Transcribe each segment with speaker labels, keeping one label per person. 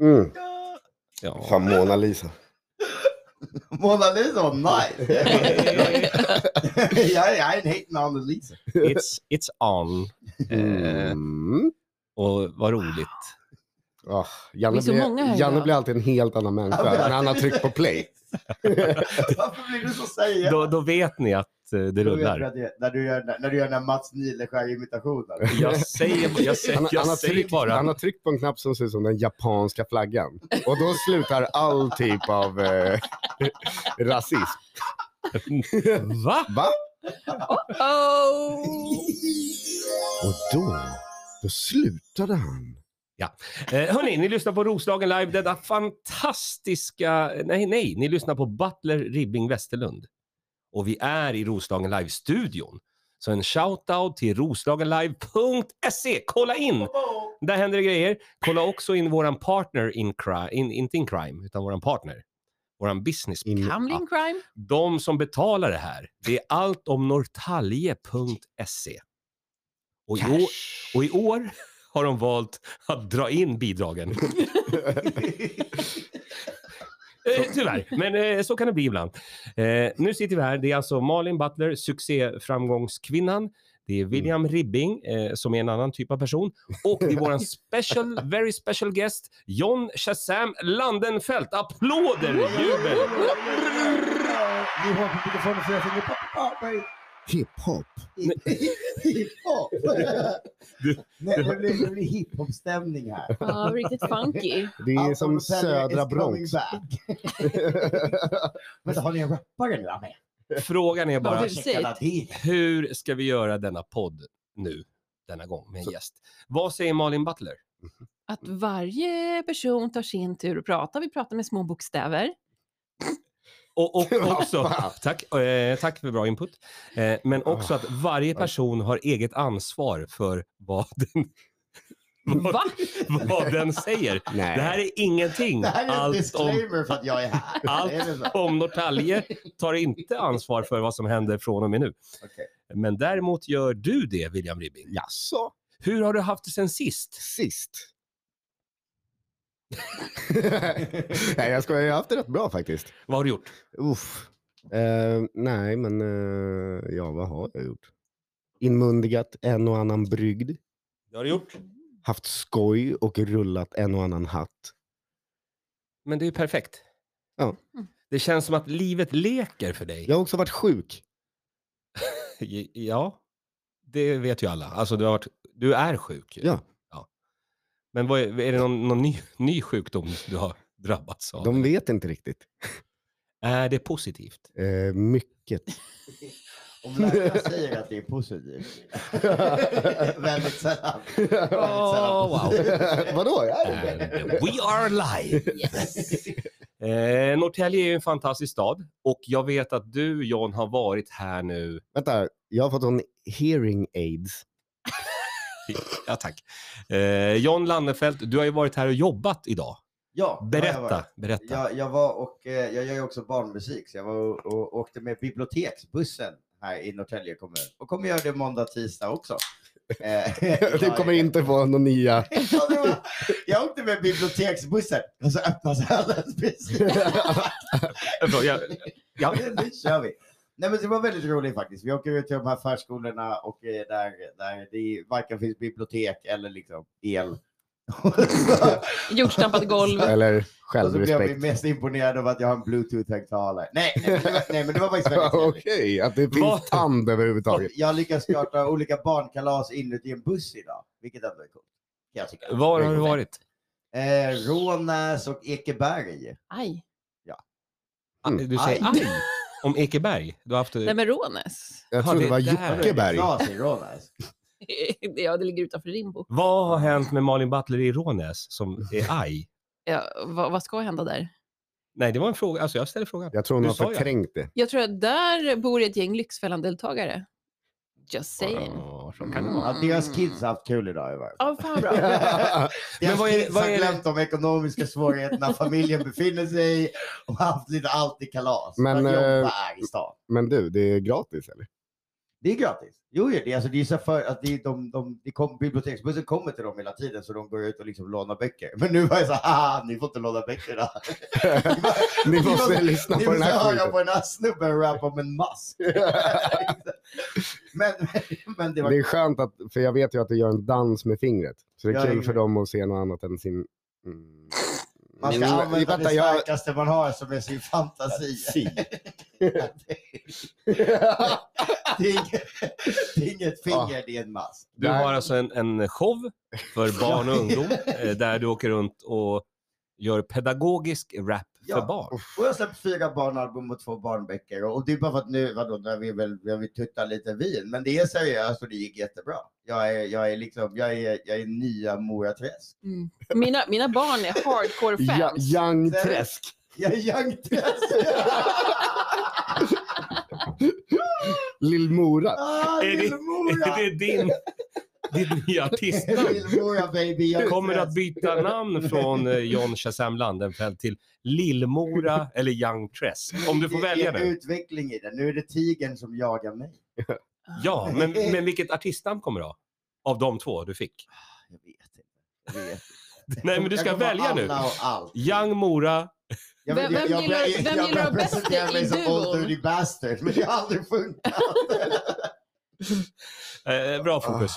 Speaker 1: Mm.
Speaker 2: Ja.
Speaker 1: Fan, Mona Lisa.
Speaker 3: Mona Lisa var nice. yeah, I ain't hating on the Lisa.
Speaker 2: It's, it's on. Eh,
Speaker 1: Mm.
Speaker 2: och vad roligt.
Speaker 1: Ah, Janne,
Speaker 4: Det är så många
Speaker 1: blir,
Speaker 4: här
Speaker 1: Janne
Speaker 4: idag.
Speaker 1: blir alltid en helt annan människa när han har tryckt på play.
Speaker 3: Varför blir du så säger?
Speaker 2: Då, då vet ni att eh, det
Speaker 3: Då vet du
Speaker 2: rullar.
Speaker 3: att det- När du gör, när du gör den här Mats Nileskär-imitationen.
Speaker 2: Jag säger, jag säger,
Speaker 1: Han, har-
Speaker 2: jag
Speaker 1: han, har
Speaker 2: säger
Speaker 1: tryckt,
Speaker 2: bara...
Speaker 1: han har tryckt på en knapp som ser ut som den japanska flaggan. Och då slutar all typ av eh, rasism.
Speaker 2: Va?
Speaker 1: Va?
Speaker 4: Oh!
Speaker 1: Och då, då slutade han.
Speaker 2: Eh, hörni, ni lyssnar på Roslagen Live, denna fantastiska... Nej, nej, ni lyssnar på Butler Ribbing Westerlund. Och vi är i Roslagen Live-studion. Så en shoutout till roslagenlive.se. Kolla in! Där händer det grejer. Kolla också in våran partner in crime, in, inte in crime, utan våran partner. Våran business.
Speaker 1: In-
Speaker 4: Hamling crime.
Speaker 2: De som betalar det här, det är allt om norrtalje.se. Och, i år- och i år har de valt att dra in bidragen. Eh, tyvärr, men eh, så kan det bli ibland. Eh, nu sitter vi här. Det är alltså Malin Butler, succéframgångskvinnan. Det är William Ribbing, eh, som är en annan typ av person. Och det är vår special, very special guest, John Shazam Landenfelt. Applåder, jubel!
Speaker 3: Ni har på mikrofonen så jag sjunger pop, pop, pop,
Speaker 1: Hiphop.
Speaker 3: hiphop. Nej, det blir, det blir hiphop-stämning här.
Speaker 4: Ja, riktigt funky.
Speaker 1: Det är
Speaker 3: Allt om
Speaker 1: som
Speaker 3: hotellet
Speaker 1: södra
Speaker 3: is coming
Speaker 1: Bronx.
Speaker 3: back. Men har ni en rappare nu med?
Speaker 2: Frågan är bara,
Speaker 4: Ja, precis.
Speaker 2: hur ska vi göra denna podd nu, denna gång, med en gäst? Vad säger Malin Butler?
Speaker 4: Att varje person tar sin tur att prata. Vi pratar med små bokstäver.
Speaker 2: Och, och också,
Speaker 1: fan.
Speaker 2: tack, eh, tack för bra input, eh, men
Speaker 3: Ah,
Speaker 2: också att varje person har eget ansvar för vad den, vad,
Speaker 4: Va?
Speaker 2: vad den säger. Det
Speaker 1: Nej.
Speaker 2: här är ingenting.
Speaker 3: Det här är en
Speaker 2: Allt om,
Speaker 3: disclaimer för att jag är här.
Speaker 2: Allt
Speaker 3: Det är väl så.
Speaker 2: om Norrtälje tar inte ansvar för vad som händer från och med nu.
Speaker 3: Okej.
Speaker 2: Men däremot gör du det, William Ribbing.
Speaker 1: Jaså?
Speaker 2: Hur har du haft det sen sist?
Speaker 1: Sist? nej, jag skojar. Jag har haft det rätt bra faktiskt.
Speaker 2: Vad har du gjort?
Speaker 1: Uff. Eh, nej, men eh, ja, vad har jag gjort? Inmundigat en och annan brygd.
Speaker 2: Det har du gjort.
Speaker 1: haft skoj och rullat en och annan hatt.
Speaker 2: Men det är ju perfekt.
Speaker 1: Ja.
Speaker 2: Det känns som att livet leker för dig.
Speaker 1: Jag har också varit sjuk.
Speaker 2: Ja, det vet ju alla. Alltså, du, har varit, du är sjuk. ju.
Speaker 1: Ja.
Speaker 2: ja. Men vad är, är det någon, någon ny, ny sjukdom du har drabbats av?
Speaker 1: De vet inte riktigt.
Speaker 2: Är det positivt?
Speaker 1: Eh, mycket.
Speaker 3: Om läkaren säger att det är positivt. Väldigt sällan.
Speaker 2: Åh, wow.
Speaker 1: Vadå? Är det
Speaker 2: And
Speaker 1: det?
Speaker 2: we are live! Eh, Norrtälje är ju en fantastisk stad och jag vet att du, John, har varit här nu.
Speaker 1: Vänta, jag har fått en hearing aids.
Speaker 2: Ja, tack. Eh, John Lannefelt, du har ju varit här och jobbat idag.
Speaker 3: Ja, jag var-
Speaker 2: Berätta, berätta.
Speaker 3: Jag, jag var och, eh, jag gör ju också barnmusik, så jag var och, och åkte med biblioteksbussen här i Norrtälje kommun. Och kommer göra det måndag, tisdag också. Eh,
Speaker 1: Du kommer inte vara någon nya.
Speaker 3: Ja, det var- jag åkte med biblioteksbussen och så öppnas ölen precis.
Speaker 2: Bra, jag- ja.
Speaker 3: Nu kör vi. Nej, men det var väldigt roligt faktiskt. Vi åker ut till de här förskolorna och eh, där, där det varken finns bibliotek eller liksom el.
Speaker 4: Jordstampat golv.
Speaker 1: Eller
Speaker 3: Och
Speaker 2: Alltså,
Speaker 3: så blev vi
Speaker 1: självrespekt.
Speaker 3: mest imponerad av att jag har en bluetooth-högtalare. Nej, nej, men det var- nej, men det var faktiskt väldigt
Speaker 1: Okej,
Speaker 3: trevligt.
Speaker 1: att det
Speaker 2: Vad-
Speaker 1: finns tand överhuvudtaget.
Speaker 3: Jag har lyckats starta olika barnkalas inuti en buss idag, vilket ändå är coolt. kan Jag tycka.
Speaker 2: Var har du varit?
Speaker 3: Eh, Rånäs och Ekeberg.
Speaker 4: Aj.
Speaker 1: Mm.
Speaker 2: Du säger
Speaker 3: Aj.
Speaker 2: aj om Ekeberg. Du har haft...
Speaker 4: Nej, men Rånäs.
Speaker 1: Jag
Speaker 2: Ja,
Speaker 1: trodde
Speaker 2: det
Speaker 1: det var
Speaker 2: där.
Speaker 1: Jockeberg.
Speaker 3: Klas i Rånäs.
Speaker 4: Ja, det ligger utanför Rimbo.
Speaker 2: Vad har hänt med Malin Butler i Rånäs som är aj?
Speaker 4: Ja, vad, vad ska hända där?
Speaker 2: Nej, det var en fråga. Alltså, jag ställer frågan.
Speaker 1: Jag tror hon
Speaker 2: Du
Speaker 1: har
Speaker 2: sa ju.
Speaker 1: förträngt det.
Speaker 4: Jag tror att där bor ett gäng Lyxfällan-deltagare. Just saying.
Speaker 3: Eh,
Speaker 2: Ja, så kan det vara.
Speaker 3: Ja, deras kids har haft kul idag. i varje fall.
Speaker 4: Ja, fan bra.
Speaker 3: Deras
Speaker 2: vad är det-
Speaker 3: kids
Speaker 2: vad
Speaker 3: har
Speaker 2: är det-
Speaker 3: glömt de ekonomiska svårigheterna familjen befinner sig i och haft lite allt i kalas.
Speaker 1: Men,
Speaker 3: Men,
Speaker 1: eh,
Speaker 3: jobba här i stan.
Speaker 1: Men du, det är gratis eller?
Speaker 3: Det är gratis. Jo, jo, det är, alltså, det är så för att det är de, de, det kom, biblioteksbussen kommer till dem hela tiden så de går ut och liksom lånar böcker. Men nu var jag så här, haha, ni får inte låna böckerna.
Speaker 1: Ni måste lyssna
Speaker 3: Ni
Speaker 1: på den
Speaker 3: måste
Speaker 1: här
Speaker 3: höra
Speaker 1: skiten.
Speaker 3: på den här snubben rappa om en mask. men, men det var
Speaker 1: Det är skönt att, för jag vet ju att du gör en dans med fingret. Så det
Speaker 3: Ja,
Speaker 1: är
Speaker 3: det
Speaker 1: kul
Speaker 3: är-
Speaker 1: för dem att se något annat än sin... Mm.
Speaker 3: Man ska
Speaker 1: Mm,
Speaker 3: använda
Speaker 1: vänta,
Speaker 3: det
Speaker 1: jag-
Speaker 3: starkaste man har som är sin fantasi.
Speaker 1: Si.
Speaker 3: det, är inget, det är inget finger, det är en mask.
Speaker 2: Du
Speaker 1: Nej.
Speaker 2: har alltså en, en show för barn och ungdom eh, där du åker runt och gör pedagogisk rap
Speaker 3: Ja.
Speaker 2: för barn.
Speaker 3: Och jag släppte fyra barnalbum och två barnböcker. Och det är bara för att nu, vadå, när vi väl, jag vill tutta lite vin. Men det är seriöst och det gick jättebra. Jag är, jag är liksom, jag är, jag är nya Mora Träsk.
Speaker 4: Mm. Mina, mina barn är hardcore fans.
Speaker 1: Ja, young Träsk.
Speaker 3: Jag är Young Träsk!
Speaker 1: Lillmora.
Speaker 3: ah,
Speaker 2: Är det-
Speaker 3: Lillmora!
Speaker 2: Det är din, din nya artistnamn.
Speaker 3: Lillmora baby, Young
Speaker 2: Kommer
Speaker 3: Träsk.
Speaker 2: att byta namn från eh, John Shazam Landenfeld till Lillmora eller Young Tress. Om du får
Speaker 3: Det är
Speaker 2: välja
Speaker 3: en
Speaker 2: nu.
Speaker 3: utveckling i det. Nu är det tigern som jagar mig.
Speaker 2: Ja, men, men vilket artistnamn kommer du ha? Av de två du fick.
Speaker 3: Jag vet inte. Jag vet inte.
Speaker 2: Nej, men du ska
Speaker 3: Jag kommer
Speaker 2: välja
Speaker 3: alla
Speaker 2: nu.
Speaker 3: Och allt.
Speaker 2: Young Mora.
Speaker 3: Jag,
Speaker 4: Vem- vem gillar-
Speaker 3: börjar-
Speaker 4: vem
Speaker 3: jag
Speaker 4: gillar
Speaker 3: börjar
Speaker 4: bäst
Speaker 3: presentera
Speaker 4: i
Speaker 3: mig som old
Speaker 4: duon?
Speaker 3: dirty bastard, men det har aldrig funkat.
Speaker 2: Eh,
Speaker 3: Ah.
Speaker 2: bra fokus.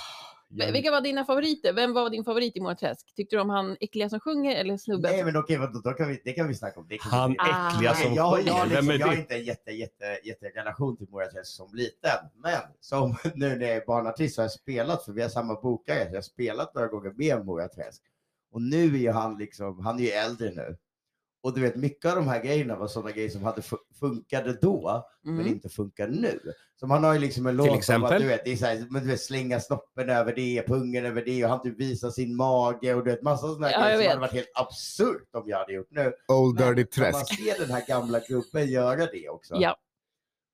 Speaker 4: V- Vilka var dina favoriter? Vem var din favorit i Mora Träsk? Tyckte du om han äckliga som sjunger eller snubben?
Speaker 3: Nej, men okej, vänta, då kan vi, det kan vi snacka om. Det kan vi
Speaker 2: Han
Speaker 3: inte-
Speaker 4: Ah.
Speaker 2: äckliga
Speaker 3: Nej,
Speaker 2: som
Speaker 3: jag, har- jag, har
Speaker 2: sjunger.
Speaker 3: liksom,
Speaker 2: Vem är
Speaker 3: jag har
Speaker 2: det?
Speaker 3: inte en jätte, jätte, jätte relation till Mora Träsk som liten, men som nu när jag är barnartist så har jag spelat, för vi har samma bokare, så jag har spelat några gånger med Mora Träsk. Och nu är ju han liksom, han är ju äldre nu. Och du vet, mycket av de här grejerna var sådana grejer som hade fu- funkade då, men
Speaker 4: Mm.
Speaker 3: inte funkar nu. Som han har ju liksom en
Speaker 2: Till
Speaker 3: låt om
Speaker 2: exempel?
Speaker 3: att du vet, det är så här, men du vet, slänga snoppen över det, pungen över det och han typ visar sin mage och du vet massa sådana
Speaker 4: Ja,
Speaker 3: grejer
Speaker 4: jag
Speaker 3: som
Speaker 4: vet.
Speaker 3: hade varit helt absurt om jag hade gjort nu.
Speaker 1: Old
Speaker 3: Men
Speaker 1: Dirty
Speaker 3: när man
Speaker 1: Träsk.
Speaker 3: ser den här gamla gubben göra det också.
Speaker 4: Ja.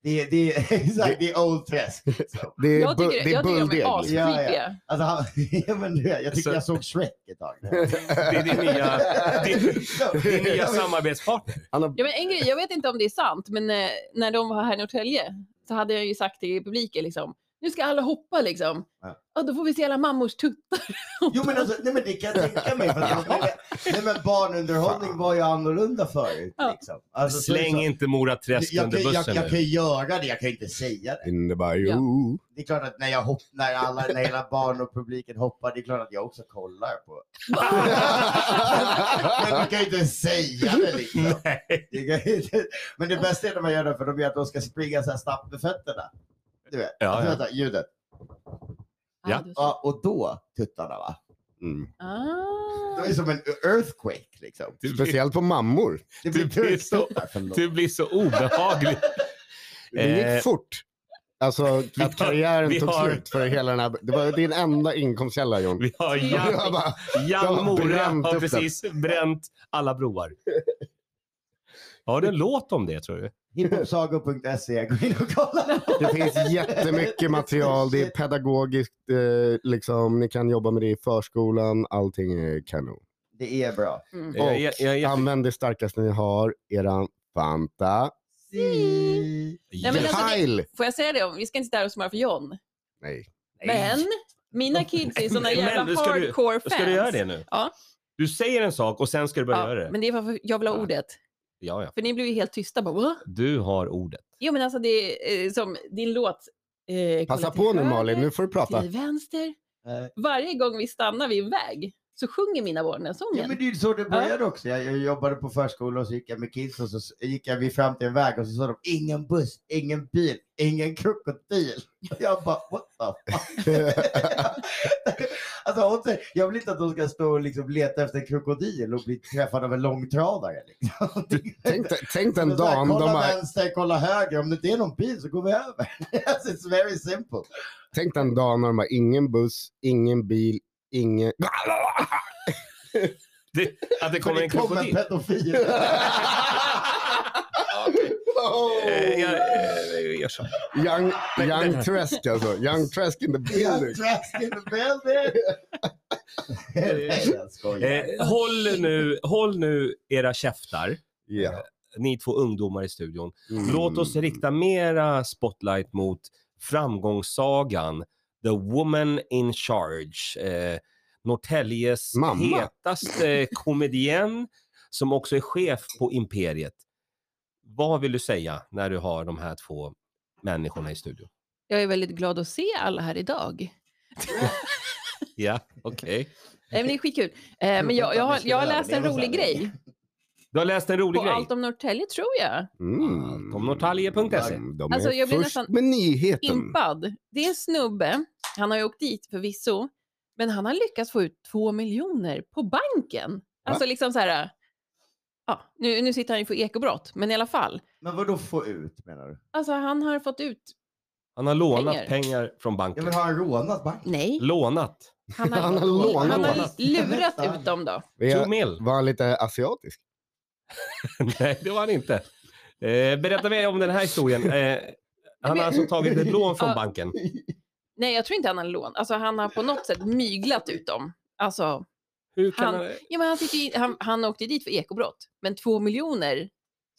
Speaker 3: Det, det, exakt, det är old träsk. liksom.
Speaker 1: Det är,
Speaker 4: Jag
Speaker 1: bu-
Speaker 4: tycker,
Speaker 1: det är
Speaker 4: jag tycker de
Speaker 1: bulldeg.
Speaker 4: är
Speaker 1: liksom.
Speaker 4: ascreepiga.
Speaker 3: Alltså, han, ja, men, du vet, jag tyckte
Speaker 2: Så-
Speaker 3: jag såg Shrek ett tag.
Speaker 2: Det är din nya, din, din nya samarbetspartner.
Speaker 1: Han har-
Speaker 4: Ja, men en grej, jag vet inte om det är sant, men eh, när de var här i Norrtälje så hade jag ju sagt till publiken liksom, nu ska alla hoppa liksom.
Speaker 3: Ja.
Speaker 4: Ja, då får vi se alla mammors tuttar.
Speaker 3: Jo men alltså, nej men det kan jag tänka mig. För att, nej, men barnunderhållning var ju annorlunda förut.
Speaker 4: Ja.
Speaker 3: Liksom. Alltså, så är det så.
Speaker 2: Släng inte Mora Träsk
Speaker 3: jag,
Speaker 2: under
Speaker 3: kan, jag,
Speaker 2: bussen
Speaker 3: jag
Speaker 2: nu.
Speaker 3: kan ju göra det, jag kan ju inte säga det.
Speaker 1: In the bayou.
Speaker 4: Ja.
Speaker 3: Det är klart att när, jag hopp, när, alla, när hela barn och publiken hoppar, det är klart att jag också kollar på. Men du kan ju inte säga det liksom.
Speaker 2: Nej.
Speaker 3: Det kan ju inte- Men det bästa är när man gör det för de gör att de ska springa så här snabbt med fötterna. Du vet,
Speaker 2: Ja,
Speaker 3: alltså,
Speaker 2: ja.
Speaker 3: vänta, ljudet.
Speaker 2: Ja.
Speaker 4: det var så.
Speaker 3: Ja, och då tuttarna va.
Speaker 1: Mm.
Speaker 4: Ah.
Speaker 3: Det är som en earthquake liksom.
Speaker 2: Du blir,
Speaker 1: Speciellt på mammor.
Speaker 3: Det blir
Speaker 2: Det blir så-
Speaker 3: turktuttar. förlåt.
Speaker 2: du blir så obehaglig.
Speaker 1: Det
Speaker 2: Eh.
Speaker 1: gick fort. Alltså
Speaker 2: Vi har-
Speaker 1: att karriären
Speaker 2: vi
Speaker 1: tog
Speaker 2: har-
Speaker 1: slut för hela den här. Det var din enda inkomstkälla John.
Speaker 2: Vi har Jan,
Speaker 1: Jag bara,
Speaker 2: Jan Mora
Speaker 1: bränt
Speaker 2: har
Speaker 1: upp
Speaker 2: precis bränt alla broar. Har du en låt om det tror du?
Speaker 3: Hiphopsago.se, E, gå in och kolla.
Speaker 1: det finns jättemycket material. Det är pedagogiskt. Eh, liksom, ni kan jobba med det i förskolan. Allting är kanon.
Speaker 3: Det är bra.
Speaker 4: Mm.
Speaker 1: Och
Speaker 2: Eh, Jag- jag- jag- jag-
Speaker 1: använd det starkaste ni har. Eran Fanta. Mm.
Speaker 3: Si.
Speaker 4: Nej, men alltså, det-
Speaker 1: Heil!
Speaker 4: Får jag säga det? om- Vi ska inte sitta här och smöra för John.
Speaker 1: Nej.
Speaker 4: Men mina kids är såna
Speaker 2: Men
Speaker 4: jävla
Speaker 2: nu ska du-
Speaker 4: hardcore fans.
Speaker 2: Ska du göra det nu?
Speaker 4: Ja.
Speaker 2: Du säger en sak och sen ska du börja
Speaker 4: Ja,
Speaker 2: göra det.
Speaker 4: men det är varför jag vill ha
Speaker 2: Ja.
Speaker 4: ordet.
Speaker 2: Ja, ja.
Speaker 4: För ni blev ju helt tysta. Bara, "Va?"
Speaker 2: Du har ordet.
Speaker 4: jo, men alltså det är eh, som din låt. Eh,
Speaker 1: Passa
Speaker 4: kolla till
Speaker 1: på nu
Speaker 4: höger,
Speaker 1: Malin, nu får du prata.
Speaker 4: Till vänster.
Speaker 3: Eh,
Speaker 4: Varje gång vi stannar vid en väg så sjunger mina barn den sången.
Speaker 3: Ja, men det är ju så det började också. Jag, jag jobbade på förskola och så gick jag med kids och så s- gick jag vid fram till en väg och så sa de ingen buss, ingen bil, ingen krokodil. Och jag bara what the fuck. alltså, hon säger, jag vill inte att de ska stå och liksom leta efter en krokodil och bli träffade av en långtradare. Liksom.
Speaker 1: Tänk, dig- tänk den
Speaker 3: Men så här,
Speaker 1: dagen de
Speaker 3: kolla
Speaker 1: har,
Speaker 3: vänster, kolla höger. Om det inte är någon bil så går vi över. alltså, it's very simple.
Speaker 1: tänk den dagen när de har ingen buss, ingen bil, ingen...
Speaker 2: Det, att det
Speaker 3: För
Speaker 2: kommer en
Speaker 3: en
Speaker 2: krokodil.
Speaker 3: pedofil.
Speaker 1: Oh!
Speaker 2: Eh, Jag, eh, jag gör så.
Speaker 1: Young, young Träsk alltså. Young Träsk in the building.
Speaker 3: Trask in the building! Nej, jag skojar.
Speaker 2: Eh, håll, nu, håll nu era käftar,
Speaker 1: Yeah.
Speaker 2: ni två ungdomar i studion.
Speaker 1: Mm.
Speaker 2: Låt oss rikta mera spotlight mot framgångssagan The Woman in Charge. Eh, Norrtäljes
Speaker 1: Mamma.
Speaker 2: hetaste komedien som också är chef på Imperiet. Vad vill du säga när du har de här två människorna i studion?
Speaker 4: Jag är väldigt glad att se alla här idag.
Speaker 2: Ja, okej.
Speaker 4: Nej, men det är skitkul. Eh, men jag, jag, har, jag har läst en rolig grej.
Speaker 2: Du har läst en rolig
Speaker 4: På
Speaker 2: grej.
Speaker 4: Allt om Norrtälje tror jag.
Speaker 1: Mm.
Speaker 2: Tomnortalje.se.
Speaker 1: De är
Speaker 4: Alltså, jag blir
Speaker 1: först
Speaker 4: nästan
Speaker 1: med nyheten.
Speaker 4: Impad. Det är en snubbe. Han har ju åkt dit förvisso. Men han har lyckats få ut två miljoner på banken. Alltså liksom så här. Ja, nu, nu sitter han ju för ekobrott, men i alla fall.
Speaker 3: Men vad då få ut menar du?
Speaker 4: Alltså han har fått ut.
Speaker 2: Han har lånat pengar,
Speaker 4: Pengar.
Speaker 2: från
Speaker 3: Jag
Speaker 2: banken.
Speaker 3: vill ha en rånat bank.
Speaker 4: Nej.
Speaker 2: Lånat.
Speaker 4: Han har,
Speaker 1: Han har
Speaker 4: han, har
Speaker 1: lånat.
Speaker 4: lurat ut dem då.
Speaker 1: Vi
Speaker 2: Two
Speaker 1: är-
Speaker 2: mil.
Speaker 1: Var han lite asiatisk?
Speaker 2: Nej, det var han inte. Eh, berätta mer om den här historien. Eh, han har alltså tagit ett lån från
Speaker 4: Ja.
Speaker 2: banken.
Speaker 4: Nej, jag tror inte han har lån. Alltså han har på något sätt myglat ut dem. Alltså
Speaker 2: Hur kan han...
Speaker 4: Han- Ja, men han, sitter ju, han, han åkte dit för ekobrott, men två miljoner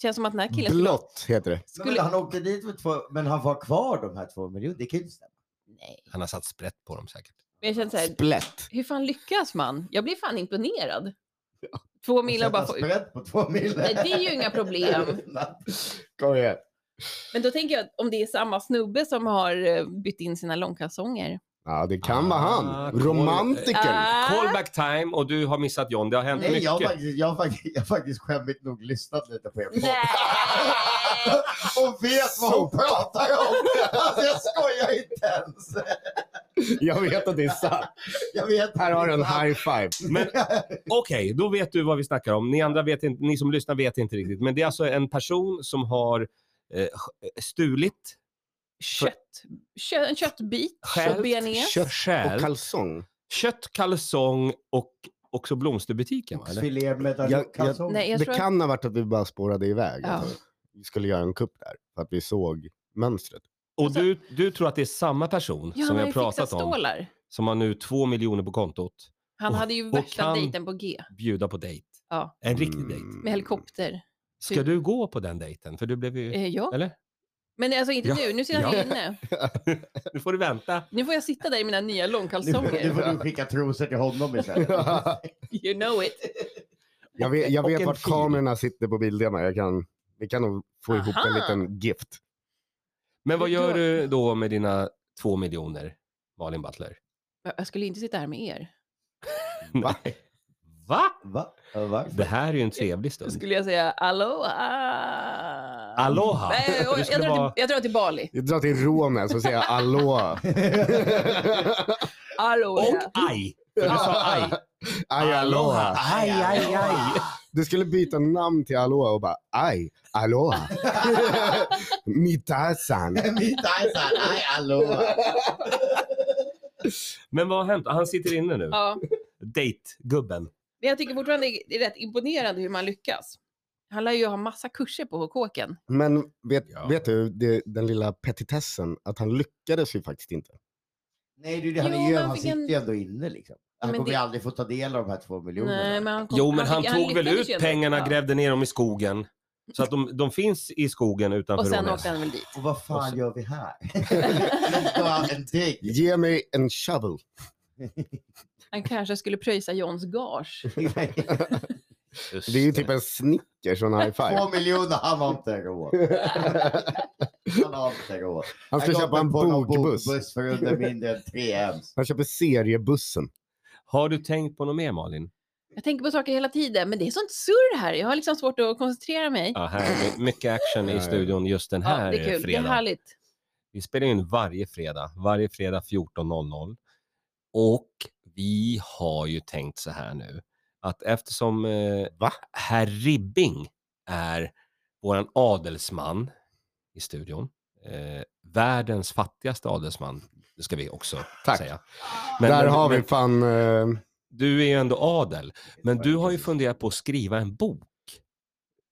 Speaker 4: känns som att den här killen...
Speaker 1: Blått heter det.
Speaker 3: Men
Speaker 4: Skulle,
Speaker 3: Han åkte dit med två, men han var kvar de här två miljonerna. Det kan ju inte stämma.
Speaker 4: nej.
Speaker 2: Han har satt sprätt på dem säkert.
Speaker 4: Men jag känner så här,
Speaker 1: Splätt.
Speaker 4: hur fan lyckas man? Jag blir fan imponerad. Två miljoner bara
Speaker 1: Alltså,
Speaker 4: få ut.
Speaker 3: Spädd på två miljoner.
Speaker 4: Nej, det är ju inga problem.
Speaker 1: Kom igen.
Speaker 4: Men då tänker jag att om det är samma snubbe som har eh, bytt in sina långkalsonger.
Speaker 1: Ja, det kan vara
Speaker 2: Ah,
Speaker 1: han.
Speaker 2: cool.
Speaker 1: Romantiker.
Speaker 4: Ah.
Speaker 2: Callback time och du har missat John. Det har hänt
Speaker 3: Nej,
Speaker 2: mycket.
Speaker 3: jag har faktiskt, jag har faktiskt, jag har faktiskt skämmigt nog lyssnat lite på er podd.
Speaker 4: Nej.
Speaker 3: och vet vad hon pratar om! Alltså jag skojar inte ens!
Speaker 1: Jag vet att det är sant.
Speaker 3: Jag vet
Speaker 1: Här har du en high five.
Speaker 2: Men okej, då vet du vad vi snackar om. Ni andra vet inte, ni som lyssnar vet inte riktigt. Men det är alltså en person som har eh, stulit,
Speaker 4: Kött, kö, en köttbit.
Speaker 2: Stjält.
Speaker 4: och bearnaise.
Speaker 1: Kött
Speaker 2: stjält,
Speaker 1: Och kalsong.
Speaker 2: kött, kalsong och också blomsterbutiken. Va, eller?
Speaker 3: Filé med
Speaker 1: Jag- jag-
Speaker 3: kalsonger.
Speaker 4: Nej, jag
Speaker 1: Det
Speaker 4: tror att-
Speaker 1: kan ha varit att vi bara spårade iväg.
Speaker 4: Ja.
Speaker 1: Att vi skulle göra en kupp där. För att vi såg mönstret.
Speaker 2: Och
Speaker 4: Alltså-
Speaker 2: du, du tror att det är samma person
Speaker 4: Ja,
Speaker 2: som
Speaker 4: han
Speaker 2: jag
Speaker 4: har
Speaker 2: har
Speaker 4: ju
Speaker 2: pratat
Speaker 4: fixat
Speaker 2: om
Speaker 4: stålar.
Speaker 2: som har nu två miljoner på kontot
Speaker 4: Han
Speaker 2: Och-
Speaker 4: hade ju
Speaker 2: och
Speaker 4: värsta
Speaker 2: kan-
Speaker 4: dejten på G
Speaker 2: bjuda på dejt.
Speaker 4: Ja.
Speaker 2: En riktig dejt.
Speaker 1: Mm.
Speaker 4: med helikopter.
Speaker 2: Ska du gå på den dejten? För du blev ju...
Speaker 4: Eh, ja.
Speaker 2: Eller?
Speaker 4: Men alltså inte
Speaker 2: Ja.
Speaker 4: nu, nu sitter han ju
Speaker 2: Ja.
Speaker 4: inne.
Speaker 2: Nu får du vänta.
Speaker 4: Nu får jag sitta där i mina nya
Speaker 3: Nu, nu
Speaker 4: långkalsonger.
Speaker 3: får du skicka trosor till honom istället.
Speaker 4: You know it.
Speaker 1: Jag vet, jag
Speaker 2: Och
Speaker 1: vet
Speaker 2: en
Speaker 1: vart
Speaker 2: fil.
Speaker 1: kamerorna sitter på bilderna. Jag kan, vi kan nog få ihop en
Speaker 4: Aha.
Speaker 1: liten gift.
Speaker 2: Men vad
Speaker 4: Då-
Speaker 2: gör du då med dina två miljoner, Malin Butler?
Speaker 4: Jag jag skulle inte sitta här med er.
Speaker 1: Va?
Speaker 2: Nej. Va?
Speaker 3: Va? Ja, Varför?
Speaker 2: Det här är ju en trevlig
Speaker 4: Då
Speaker 2: stund.
Speaker 4: skulle jag säga aloha.
Speaker 2: Mm. Aloha!
Speaker 4: Nej, jag,
Speaker 2: Du
Speaker 4: jag,
Speaker 2: skulle
Speaker 4: drar
Speaker 2: vara...
Speaker 4: till, jag drar till Bali.
Speaker 1: Jag drar till Rånäs och säger aloha.
Speaker 4: Aloha.
Speaker 2: Och aj! För du sa aj.
Speaker 1: Aj, aloha.
Speaker 2: Aj, aj, aj.
Speaker 1: Du skulle byta namn till aloha och bara aj, aloha. Mitasan.
Speaker 3: Mitt Tarzan, nej hallå!
Speaker 2: Men vad har hänt? Han sitter inne nu.
Speaker 4: Ja.
Speaker 2: Dejtgubben.
Speaker 4: Men jag tycker fortfarande det är rätt imponerande hur man lyckas. Han lär ju ha massa kurser på kåken.
Speaker 1: Men vet,
Speaker 2: Ja.
Speaker 1: vet du, det, den lilla petitessen, att han lyckades ju faktiskt inte.
Speaker 3: Nej, det är det han
Speaker 4: Jo,
Speaker 3: är ju,
Speaker 4: men
Speaker 3: han
Speaker 4: fick
Speaker 3: sitter
Speaker 4: en-
Speaker 3: ju ändå inne liksom. Han
Speaker 4: Men
Speaker 3: kommer ju
Speaker 4: det-
Speaker 3: aldrig få ta del av de här två miljonerna.
Speaker 4: Nej, men han kom,
Speaker 2: Jo, men han
Speaker 4: fick-
Speaker 2: tog väl
Speaker 4: lyckades ju
Speaker 2: ut
Speaker 4: ändå.
Speaker 2: pengarna,
Speaker 4: Ja.
Speaker 2: grävde ner dem i skogen. Så att de, de finns i skogen
Speaker 4: Och
Speaker 2: utanför
Speaker 4: sen
Speaker 2: Rånäs.
Speaker 4: åkte han väl dit.
Speaker 3: Och vad fan
Speaker 2: Och så-
Speaker 3: gör vi här? Då har han en dig.
Speaker 1: Ge mig en shovel.
Speaker 4: Han kanske skulle pröjsa Johns gage.
Speaker 2: Just
Speaker 1: Det är ju
Speaker 2: det.
Speaker 1: typ en Snickers och en high five.
Speaker 3: Två miljoner, han har inte råd. Han har inte råd.
Speaker 1: Han ska
Speaker 3: Jag
Speaker 1: köpa
Speaker 3: går
Speaker 1: en
Speaker 3: på någon
Speaker 1: bokbuss.
Speaker 3: bokbuss för under mindre än 3 ems.
Speaker 1: Han köper seriebussen.
Speaker 2: Har du tänkt på något mer Malin?
Speaker 4: Jag tänker på saker hela tiden, men det är sånt surr här. Jag har liksom svårt att koncentrera mig.
Speaker 2: Ja, här är mycket action
Speaker 1: Ja,
Speaker 2: i
Speaker 1: ja.
Speaker 2: studion just den här
Speaker 4: Ja, det är kul. Det är
Speaker 2: fredagen.
Speaker 4: härligt.
Speaker 2: Vi spelar in varje fredag, varje fredag 14.00. Och vi har ju tänkt så här nu, att eftersom eh,
Speaker 1: Va?
Speaker 2: herr Ribbing är våran adelsman i studion, eh, världens fattigaste adelsman, det ska vi också
Speaker 1: Tack.
Speaker 2: säga.
Speaker 1: Där har vi
Speaker 2: men-
Speaker 1: fan... eh,
Speaker 2: Du är ju ändå adel, men du har ju funderat på att skriva en bok.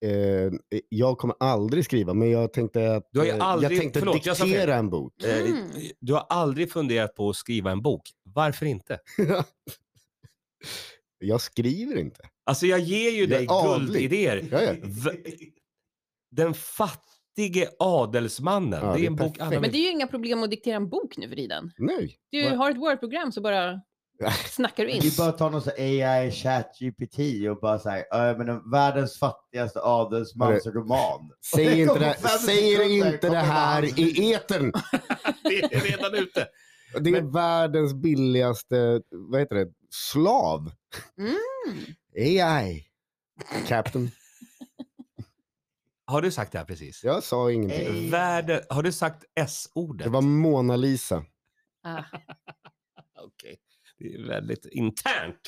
Speaker 1: eh, jag kommer aldrig skriva, men jag tänkte att
Speaker 2: Du har ju
Speaker 1: eh,
Speaker 2: aldrig-
Speaker 1: jag tänkte
Speaker 2: förlåt, jag sa fel.
Speaker 1: diktera en bok.
Speaker 2: Eh,
Speaker 4: Mm.
Speaker 2: Du har aldrig funderat på att skriva en bok. Varför inte?
Speaker 1: Jag skriver inte.
Speaker 2: Alltså jag ger ju
Speaker 1: Jag är
Speaker 2: dig
Speaker 1: adlig.
Speaker 2: guldidéer.
Speaker 1: Jag är.
Speaker 2: V- Den fatt mäktige adelsmannen.
Speaker 1: Ja,
Speaker 2: det
Speaker 1: det
Speaker 2: är
Speaker 1: är
Speaker 2: en bok
Speaker 1: perfekt.
Speaker 2: alla
Speaker 4: Men
Speaker 2: vill
Speaker 4: det är ju inga problem att diktera en bok nu för tiden.
Speaker 1: Nej.
Speaker 4: Du
Speaker 1: Vad-
Speaker 4: har ett Word-program så bara snackar du in.
Speaker 3: Vi bara ta någon sån AI, chat, GPT och bara såhär, jag menar världens fattigaste adelsmans roman.
Speaker 1: Säg inte det,
Speaker 3: Fem
Speaker 1: säger
Speaker 3: sekunder
Speaker 1: inte det
Speaker 3: kommer
Speaker 1: här
Speaker 3: han.
Speaker 1: i etern.
Speaker 2: Det är redan ute.
Speaker 1: Det är världens billigaste, vad heter det, slav.
Speaker 4: Mm.
Speaker 1: AI. Captain.
Speaker 2: Har du sagt det här precis?
Speaker 1: Jag sa ingenting.
Speaker 3: Hey.
Speaker 2: Världen, har du sagt S-ordet?
Speaker 1: Det var Mona Lisa.
Speaker 4: Ah.
Speaker 2: Okej. Det är väldigt internt.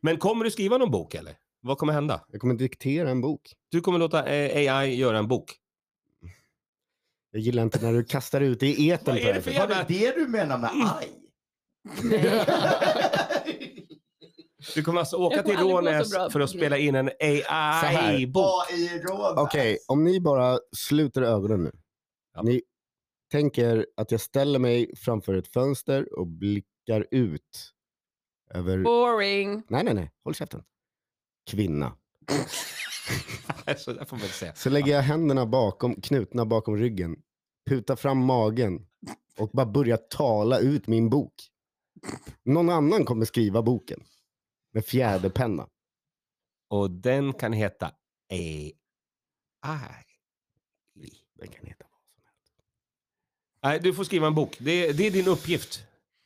Speaker 2: Men kommer du skriva någon bok eller? Vad kommer hända?
Speaker 1: Jag kommer diktera en bok.
Speaker 2: Du kommer låta eh, AI göra en bok.
Speaker 1: Jag gillar inte när du kastar ut det i etern.
Speaker 2: Vad är det för
Speaker 1: Fredrik.
Speaker 3: Var det det du menar med aj?
Speaker 2: Du kommer alltså åka
Speaker 4: Jag
Speaker 2: till
Speaker 4: kommer aldrig må så
Speaker 2: Rånäs
Speaker 4: bra
Speaker 2: för att
Speaker 4: på
Speaker 2: spela in en
Speaker 1: här.
Speaker 2: AI-bok.
Speaker 3: AI-rån.
Speaker 1: Okej, om ni bara sluter ögonen nu.
Speaker 2: Ja.
Speaker 1: Ni tänker att jag ställer mig framför ett fönster och blickar ut över...
Speaker 4: Boring.
Speaker 1: Nej, nej, nej. Håll käften. Kvinna.
Speaker 2: Så där får man inte säga.
Speaker 1: Så lägger jag händerna bakom, knutna bakom ryggen, putar fram magen och bara börjar tala ut min bok. Någon annan kommer skriva boken med fjäderpenna.
Speaker 2: Och den kan heta AI.
Speaker 1: Den kan heta vad som helst.
Speaker 2: Nej, du får skriva en bok. Det är, det är din uppgift.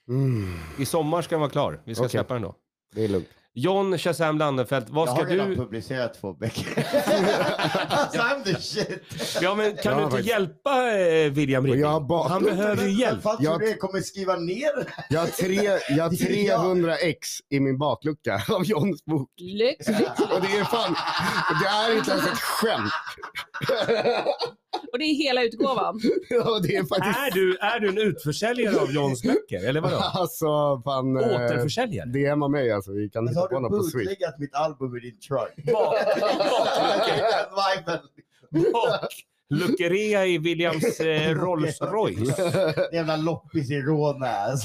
Speaker 1: Mm,
Speaker 2: I sommar ska den vara klar. Vi ska
Speaker 1: Okej.
Speaker 2: släppa den då.
Speaker 1: det är lugnt.
Speaker 2: John Shazam Landenfelt, vad
Speaker 3: Jag
Speaker 2: ska
Speaker 3: har redan
Speaker 2: du...
Speaker 3: publicerat två böcker. alltså I'm the shit.
Speaker 2: Ja, men kan
Speaker 1: Ja,
Speaker 2: du inte
Speaker 1: faktiskt.
Speaker 2: hjälpa eh, William
Speaker 1: Och jag
Speaker 2: Ribbing?
Speaker 1: har bakom-
Speaker 2: Han behöver ju hjälp.
Speaker 3: Fan, tror
Speaker 1: Jag-
Speaker 3: du jag kommer skriva ner det här?
Speaker 1: Jag har, tre, jag har 300 ex i min baklucka av Johns bok.
Speaker 4: Lyx, lyx.
Speaker 1: Och det är fan, det är inte ens ett skämt.
Speaker 4: Och det är hela utgåvan.
Speaker 1: Ja, det är faktiskt,
Speaker 2: Är du, är du en utförsäljare av Johns böcker? Eller vadå?
Speaker 1: alltså fan. eh,
Speaker 2: Återförsäljare?
Speaker 1: DMa mig alltså, vi kan
Speaker 3: Men
Speaker 1: hitta
Speaker 3: så har
Speaker 1: på
Speaker 3: du
Speaker 1: något på Switch.
Speaker 3: bootleggat mitt album i din truck.
Speaker 2: Bakluckerea i Williams eh, Rolls Royce.
Speaker 3: En jävla loppis i Rånäs.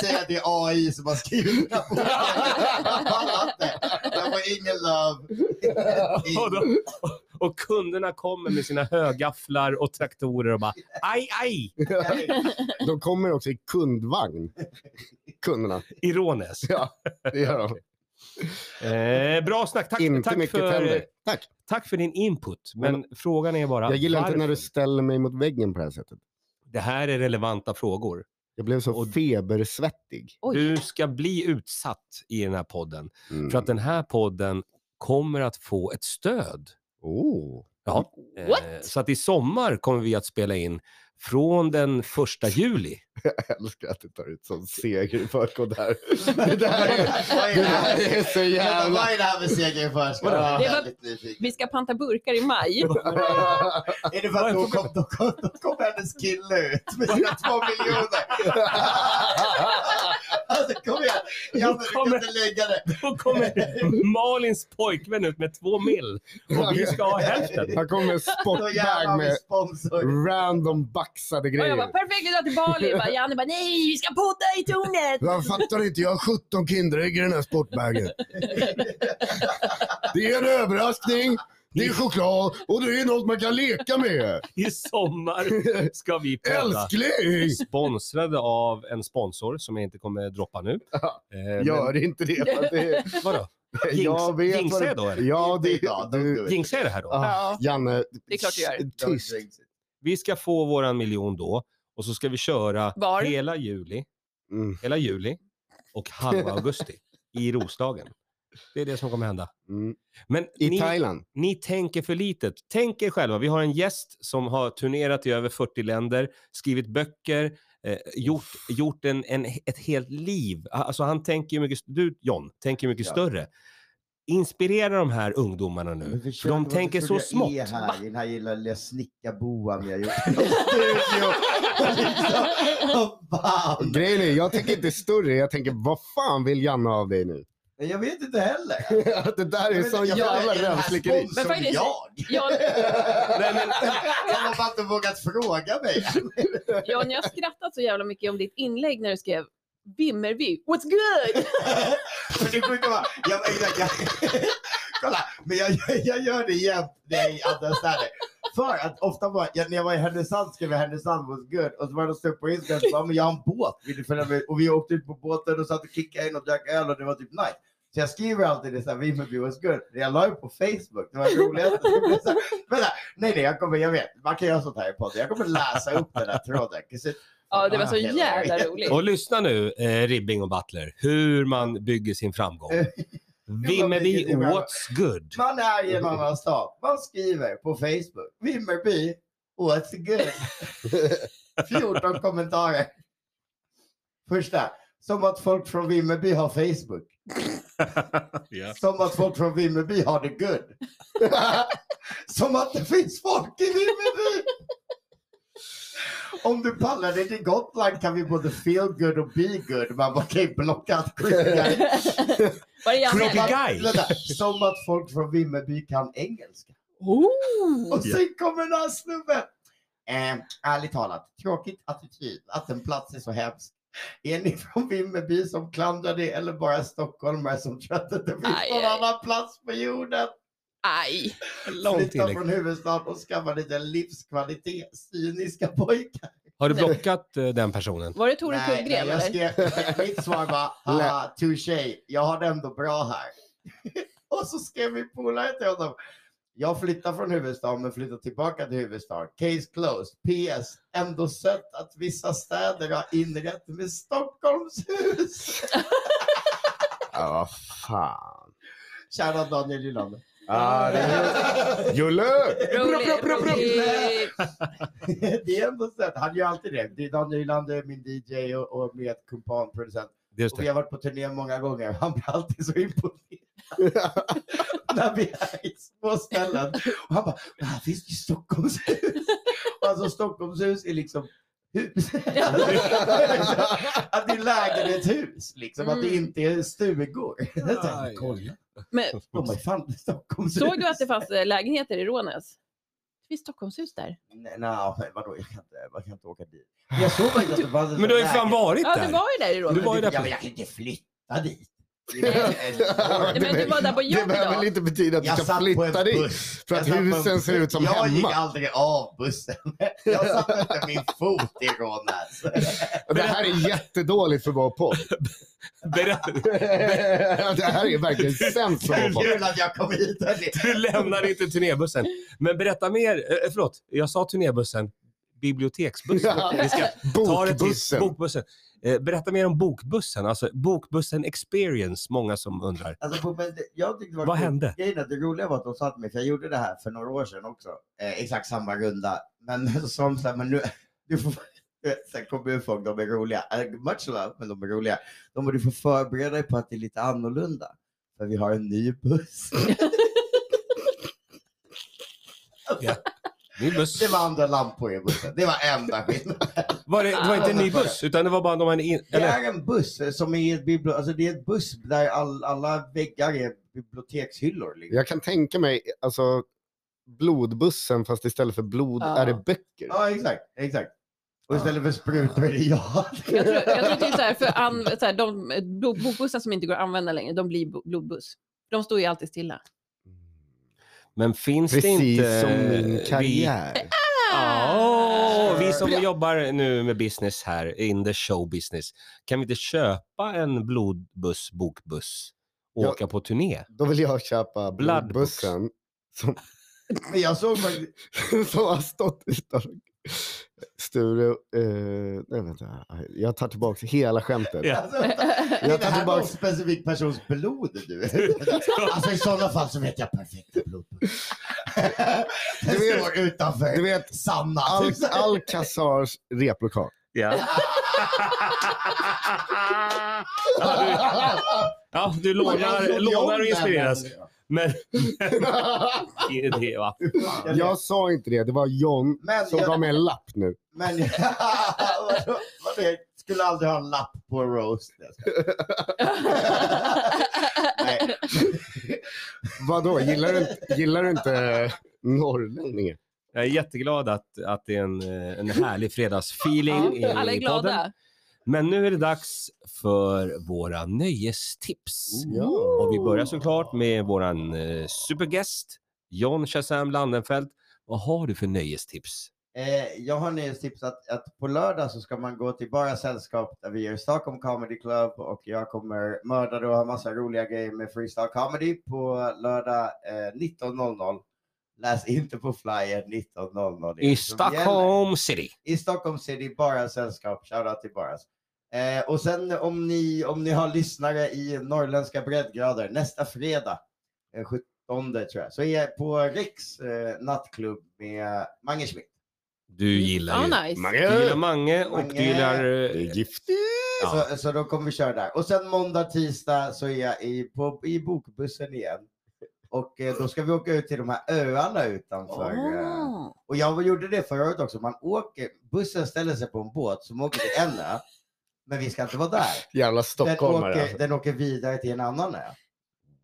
Speaker 3: Säg att det är AI som har skrivit den här boken. Jag pallar inte. Jag får ingen love.
Speaker 2: Och, då, och kunderna kommer med sina högafflar och traktorer och bara aj, aj
Speaker 1: De kommer också i kundvagn. Kunderna.
Speaker 2: i Rånäs.
Speaker 1: Det gör de.
Speaker 2: Eh, bra snack. Tack,
Speaker 1: inte
Speaker 2: tack,
Speaker 1: mycket
Speaker 2: för,
Speaker 1: tänder. Tack.
Speaker 2: tack för din input. Men, frågan är bara
Speaker 1: Jag gillar inte när du
Speaker 2: varför?
Speaker 1: ställer mig mot väggen på det här sättet.
Speaker 2: Det här är relevanta frågor.
Speaker 1: Jag blev så
Speaker 2: Och-
Speaker 1: febersvettig.
Speaker 4: Oj.
Speaker 2: Du ska bli utsatt i den här podden.
Speaker 1: Mm.
Speaker 2: För att den här podden kommer att få ett stöd.
Speaker 1: oh.
Speaker 2: Ja.
Speaker 4: What?
Speaker 2: Eh, Så att i sommar kommer vi att spela in från den första juli.
Speaker 1: Jag älskar att du tar ut sån seger i förskott här. Det där är,
Speaker 3: Vad är
Speaker 1: det
Speaker 3: det här?
Speaker 1: där är så
Speaker 3: Vänta,
Speaker 1: jävla...
Speaker 3: Vad är det här med seger i förskott?
Speaker 2: Vadå?
Speaker 3: Jag
Speaker 4: Det
Speaker 3: är
Speaker 4: var-
Speaker 3: väldigt nyfiken.
Speaker 4: Vi ska panta burkar i maj.
Speaker 3: Är det för att då kom, då kom, då kom hennes kille ut med sina två miljoner? Alltså kom igen! Ja, men du kan inte lägga det.
Speaker 2: Då kommer Malins pojkvän ut med två mil och vi ska ha hälften.
Speaker 1: Han kommer med en
Speaker 3: Då
Speaker 1: sportbag
Speaker 3: jävlar har vi
Speaker 1: med
Speaker 3: sponsor.
Speaker 1: random baxade
Speaker 4: Och jag
Speaker 1: grejer.
Speaker 4: bara, perfekt, vi drar till Bali. Jag bara, Janne bara, nej, vi ska podda i tornet.
Speaker 1: Jag fattar inte, jag har 17 Kinderägg i den här sportbagen. Det är en överraskning, det är choklad och det är något man kan leka med.
Speaker 2: I sommar ska vi podda.
Speaker 1: Älskling!
Speaker 2: Sponsrade av en sponsor som jag inte kommer droppa nu. Eh, men-
Speaker 1: Gör inte det. för att det
Speaker 2: Vadå?
Speaker 1: jag vet
Speaker 2: jinxa
Speaker 1: vad det-
Speaker 2: jag då, eller?
Speaker 1: Ja, det
Speaker 3: Ja, då
Speaker 1: du,
Speaker 3: gör vi.
Speaker 2: Jinxar jag det här då?
Speaker 1: ah, Janne,
Speaker 4: Det är klart du gör.
Speaker 1: tyst.
Speaker 2: Vi ska få våran miljon då och så ska vi köra
Speaker 4: Var?
Speaker 2: hela juli,
Speaker 1: Mm,
Speaker 2: hela juli och halva augusti i Roslagen. Det är det som kommer hända.
Speaker 1: mm.
Speaker 2: Men
Speaker 1: I
Speaker 2: ni,
Speaker 1: Thailand.
Speaker 2: ni tänker för litet. Tänk er själva, vi har en gäst som har turnerat i över 40 länder, skrivit böcker, eh, gjort, gjort en, en, ett helt liv. Alltså han tänker ju mycket, du John, tänker ju mycket
Speaker 3: Ja.
Speaker 2: större. Inspirera de här ungdomarna nu. För de tänker så smått.
Speaker 3: Jag är här i den här lilla lilla snickarboan jag gjort i studio. Liksom, vad fan.
Speaker 1: Grejen är, jag tänker inte större, jag tänker vad fan vill Janne av dig nu?
Speaker 3: Men Jag vet inte heller.
Speaker 1: det där är
Speaker 3: Jag vet
Speaker 1: sån
Speaker 3: inte, jag
Speaker 1: jävla
Speaker 3: är den här
Speaker 1: rövslickeri.
Speaker 3: sponsorn
Speaker 4: Men faktiskt-
Speaker 3: jag.
Speaker 4: John,
Speaker 2: Nej, men,
Speaker 3: Jag har bara inte vågat fråga mig.
Speaker 4: John, jag har skrattat så jävla mycket om ditt inlägg när du skrev Vimmerby, what's good?
Speaker 3: För det brukar vara, jag, jag, jag, kolla, men jag, jag, jag gör det jämt när jag är i andra städer. För att ofta var, jag, när jag var i Härnösand skrev jag Härnösand was good och så var det någon snubbe på internet som bara, men jag har en båt, vill du följa med? Och vi åkte ut på båten och satt och kickade in och drack öl och det var typ nice. Så jag skriver alltid det såhär, Vimmerby was good. Det Jag la ju på Facebook, det var det roligaste. Det blev så här, Vänta, nej nej, jag kommer, jag vet, man kan göra sånt här i podden. Jag kommer läsa upp den här tråden. 'Cause it-
Speaker 4: Ja, det var så
Speaker 3: Ah, hela
Speaker 4: jävla
Speaker 3: vägen.
Speaker 4: roligt.
Speaker 2: Och lyssna nu, eh, Ribbing och Butler, hur man bygger sin framgång. Vimmerby, what's good?
Speaker 3: Man är i en annan stad. Man skriver på Facebook, Vimmerby, what's good? 14 kommentarer. Första, som att folk från Vimmerby har Facebook.
Speaker 2: Ja.
Speaker 3: Som att folk från Vimmerby har det good. som att det finns folk i Vimmerby. Om du pallar dig till Gotland kan vi både feel good och be good. Man bara okej, blockat. skicka.
Speaker 4: Var det Janne?
Speaker 2: Kroka- Guy.
Speaker 3: Vänta, Som att folk från Vimmerby kan engelska.
Speaker 4: Oh!
Speaker 3: Och sen kommer den här snubben. Eh, ärligt talat, tråkigt attityd att en plats är så hemsk. Är ni från Vimmerby som klandrar det eller bara stockholmare som tror att det inte finns
Speaker 4: Aj,
Speaker 3: någon
Speaker 4: aj.
Speaker 3: annan plats på jorden?
Speaker 4: Aj!
Speaker 2: Långt
Speaker 3: Flytta
Speaker 2: tillägg.
Speaker 3: från huvudstaden och skaffa lite livskvalitet, cyniska pojkar.
Speaker 2: Har du blockat eh, den personen?
Speaker 4: Var det Tore
Speaker 3: Nej,
Speaker 4: Kullgren
Speaker 3: nej, jag
Speaker 4: eller?
Speaker 3: skrev, mitt svar var haha, touché, jag har det ändå bra här. och så skrev min polare till honom, jag flyttar från huvudstaden men flyttar tillbaka till huvudstaden. Case closed. PS. Ändå sött att vissa städer har inrett med Stockholmshus.
Speaker 1: Ja, vad fan.
Speaker 3: Kära Daniel Gylander.
Speaker 1: Ja, det är- Julle!
Speaker 4: Rolig, rolig.
Speaker 3: det är ändå sött. Han gör alltid det. Det är Daniel Gylander, min DJ och, och med kumpan, producent.
Speaker 2: Just
Speaker 3: Och vi
Speaker 2: det.
Speaker 3: har varit på turné många gånger. Han blir alltid så imponerad när vi är i små ställen. Och han bara, det här finns ju Stockholmshus. Och alltså Stockholmshus är liksom hus. att det är lägenhetshus, liksom. Att det
Speaker 4: Mm.
Speaker 3: inte är stugor. Så här,
Speaker 2: Aj.
Speaker 3: Kolla,
Speaker 4: Men
Speaker 3: de har fan Stockholmshus.
Speaker 4: såg du att det fanns eh, lägenheter i Rånäs? Det finns Stockholmshus där.
Speaker 3: Nej, nej, men vadå, jag kan inte, jag kan inte åka dit. Jag såg faktiskt att det fanns en
Speaker 2: Men du har ju
Speaker 3: sån
Speaker 2: fan
Speaker 3: lägenhet.
Speaker 2: varit
Speaker 4: Ja, du
Speaker 2: där.
Speaker 4: var ju där i
Speaker 2: Du
Speaker 4: Rånäs.
Speaker 2: var ju där
Speaker 3: Ja,
Speaker 2: på-
Speaker 3: men jag kan inte flytta dit. Det är en-
Speaker 4: Nej, men du var där på
Speaker 1: Det
Speaker 4: jobb
Speaker 1: behöver
Speaker 4: idag.
Speaker 1: inte betyda att du
Speaker 3: Jag
Speaker 1: ska
Speaker 3: satt på
Speaker 1: flytta
Speaker 3: en
Speaker 1: dit.
Speaker 3: buss.
Speaker 1: För att
Speaker 3: Jag satt på en
Speaker 1: husen ser
Speaker 3: buss.
Speaker 1: ut som
Speaker 3: jag
Speaker 1: hemma.
Speaker 3: gick aldrig av bussen. Jag satte inte min fot i alltså. Rånäs.
Speaker 1: Och Det här är jättedåligt för vår podd.
Speaker 2: Berätta.
Speaker 1: det här är verkligen sämst
Speaker 3: Så
Speaker 1: för vår podd.
Speaker 3: kul att jag kom hit. hörni.
Speaker 2: Du lämnar inte turnébussen. Men berätta mer. Eh, förlåt, jag sa turnébussen. Biblioteksbussen. Vi ska ta det till
Speaker 1: Bokbussen.
Speaker 2: bokbussen. Eh, berätta mer om bokbussen. Alltså bokbussen experience, många som undrar.
Speaker 3: Alltså, på- men det- jag tyckte det var
Speaker 2: Vad
Speaker 3: kul.
Speaker 2: hände?
Speaker 3: Grejen är att det roliga var att de sa till mig, för jag gjorde det här för några år sedan också, eh, exakt samma runda. Men så sa de så här, men nu, du får, sen kommunfolk, de är roliga. Eh, Much love, men de är roliga. De bara, du får förbereda dig på att det är lite annorlunda. För vi har en ny buss.
Speaker 2: Ny buss.
Speaker 3: Det var andra lampor i bussen. Det var enda skillnaden.
Speaker 2: Var det, det var inte en ny buss, utan det var bara de en in,
Speaker 3: Det
Speaker 2: eller,
Speaker 3: är en buss eh, som är ett bibliotek, alltså det är ett buss där all, alla väggar är bibliotekshyllor. Liksom.
Speaker 1: Jag kan tänka mig alltså, blodbussen fast istället för blod
Speaker 4: Ja.
Speaker 1: är det böcker.
Speaker 3: Ja, exakt, exakt. Och istället för sprutor är det jag.
Speaker 4: Jag tror, jag tror typ så här, för an, så här, de eh, blod- bokbussar som inte går att använda längre, de blir bo- blodbuss. De står ju alltid stilla.
Speaker 2: men finns det
Speaker 1: Precis
Speaker 2: inte... eh,
Speaker 1: som min
Speaker 2: vi-
Speaker 1: karriär.
Speaker 2: Ja, vi som
Speaker 4: Bra.
Speaker 2: jobbar nu med business här, in the show business, kan vi inte köpa en blodbuss, bokbuss och
Speaker 1: Ja.
Speaker 2: åka på turné?
Speaker 1: Då vill jag köpa
Speaker 2: Bloodbooks.
Speaker 1: blodbussen som,
Speaker 3: Men jag såg faktiskt,
Speaker 1: som har stått utan Sture... Eh, nej, vänta. Jag tar tillbaka hela skämtet.
Speaker 2: Ja.
Speaker 3: alltså, är
Speaker 1: Jag
Speaker 3: det
Speaker 1: tar
Speaker 3: här någon
Speaker 1: tillbaka...
Speaker 3: specifik persons blod du? alltså i sådana fall så vet jag perfekta blodbuss. Det
Speaker 1: Du vet-
Speaker 3: står utanför
Speaker 1: Du vet,
Speaker 3: Sanna.
Speaker 1: Al-
Speaker 3: typ så här.
Speaker 1: Alcazars replokal.
Speaker 2: Ja. ja, du, ja, du lånar, lånar och inspireras. Men det är det, va?
Speaker 1: Jag sa inte det, det var John
Speaker 3: Men
Speaker 1: som
Speaker 3: jag-
Speaker 1: gav mig en lapp nu.
Speaker 3: Men vadå, vadå, jag skulle aldrig ha en lapp på en roast. Jag skojar. Nej,
Speaker 1: Vadå, gillar du, inte- gillar du inte eh, norrlänningar?
Speaker 2: jag är jätteglad att, att det är en, eh, en härlig fredagsfeeling. i-
Speaker 4: Ja, alla är
Speaker 2: i podden.
Speaker 4: glada.
Speaker 2: Men nu är det dags för våra nöjestips.
Speaker 1: Ja.
Speaker 2: Och vi börjar såklart med våran eh, supergäst John Shazam Landenfelt Vad har du för nöjestips?
Speaker 3: Eh, jag har nyhetstips att, att på lördag så ska man gå till Bara Sällskap där vi gör Stockholm Comedy Club och jag kommer mörda då och ha massa roliga grejer med freestyle comedy på lördag eh, 19.00. Läs inte på flyer 19.00. Det är
Speaker 2: I
Speaker 3: det som gäller
Speaker 2: Stockholm city.
Speaker 3: i Stockholm City, bara sällskap. Shoutout till Baras. Eh, och sen om ni, om ni har lyssnare i norrländska breddgrader, nästa fredag, eh, 17 tror jag, så är jag på Riks eh, nattklubb med Mange Schmidt.
Speaker 2: Du gillar ju...
Speaker 4: Mm. Ja, Ah, nice.
Speaker 2: Du gillar
Speaker 1: Mange!
Speaker 2: Mange och du
Speaker 3: Mange.
Speaker 2: gillar... eh,
Speaker 1: Du är giftig!
Speaker 2: Ja.
Speaker 3: Så, så då kommer vi köra där. Och sen måndag, tisdag så är jag i, på, i bokbussen igen. Och eh, då ska vi åka ut till de här öarna utanför. Eh,
Speaker 4: Åh.
Speaker 3: Och jag gjorde det förra året också. Man åker, bussen ställer sig på en båt som åker till en ö. Men vi ska inte vara där.
Speaker 1: Jävla
Speaker 3: den
Speaker 1: stockholmare.
Speaker 3: åker,
Speaker 1: alltså.
Speaker 3: den åker vidare till en annan ö.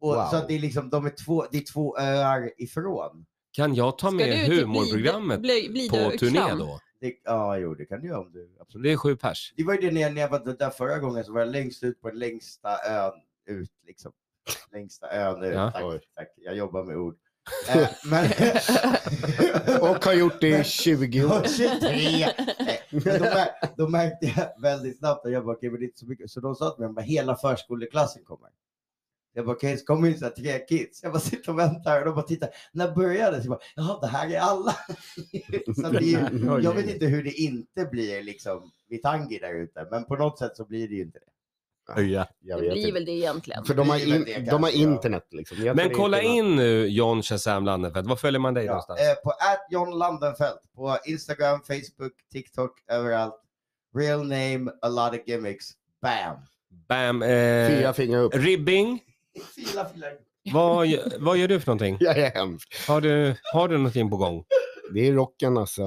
Speaker 3: Och,
Speaker 1: Wow.
Speaker 3: Så att det är liksom, de är två, det är två öar ifrån.
Speaker 2: Kan jag ta
Speaker 4: Ska
Speaker 2: med
Speaker 4: du typ
Speaker 2: humorprogrammet
Speaker 4: bli- bli- bli
Speaker 2: på
Speaker 4: döklam?
Speaker 2: turné då?
Speaker 3: Det, ja, jo, det kan du göra om du absolut.
Speaker 2: Det är sju pers.
Speaker 3: Det var ju det när jag, när jag var där förra gången, så var jag längst ut på den längsta ön ut. Liksom. Längsta ön ut.
Speaker 2: Ja.
Speaker 1: Oj.
Speaker 3: Tack, tack. Jag jobbar med ord. Eh, men...
Speaker 1: Och har gjort det i 20 år.
Speaker 3: Och 23. Nej, Eh, Men då, mär- då märkte jag väldigt snabbt att jag bara, okej, men det är inte så mycket. Så de sa till mig, de bara, hela förskoleklassen kommer. Jag bara, okej, så kommer ju så här tre kids. Jag bara sitter och väntar och de bara tittar. När började det? Så jag bara, jaha, det här är alla. så att det är, ju- jag vet inte hur det inte blir liksom Vitangi där ute, men på något sätt så blir det ju inte det.
Speaker 1: Jag
Speaker 4: Det
Speaker 1: vet
Speaker 4: blir
Speaker 1: inte.
Speaker 4: väl det egentligen.
Speaker 1: För de har,
Speaker 3: Livet är
Speaker 1: in, de har
Speaker 3: ganska-
Speaker 1: internet liksom. Jag tror
Speaker 2: Men
Speaker 1: det är
Speaker 2: kolla
Speaker 1: internet.
Speaker 2: in nu John Shazam Landenfelt. Var följer man dig
Speaker 3: Ja,
Speaker 2: någonstans?
Speaker 3: eh, på att John Landenfelt på Instagram, Facebook, TikTok, överallt. Real name, a lot of gimmicks. Bam!
Speaker 2: Bam. Eh,
Speaker 1: Fyra fingrar upp.
Speaker 2: ribbing.
Speaker 3: Fila, fila.
Speaker 2: Vad, gö- vad gör du för någonting?
Speaker 1: Jag är hemskt.
Speaker 2: Har du, har du någonting på gång?
Speaker 1: Det är rocken alltså.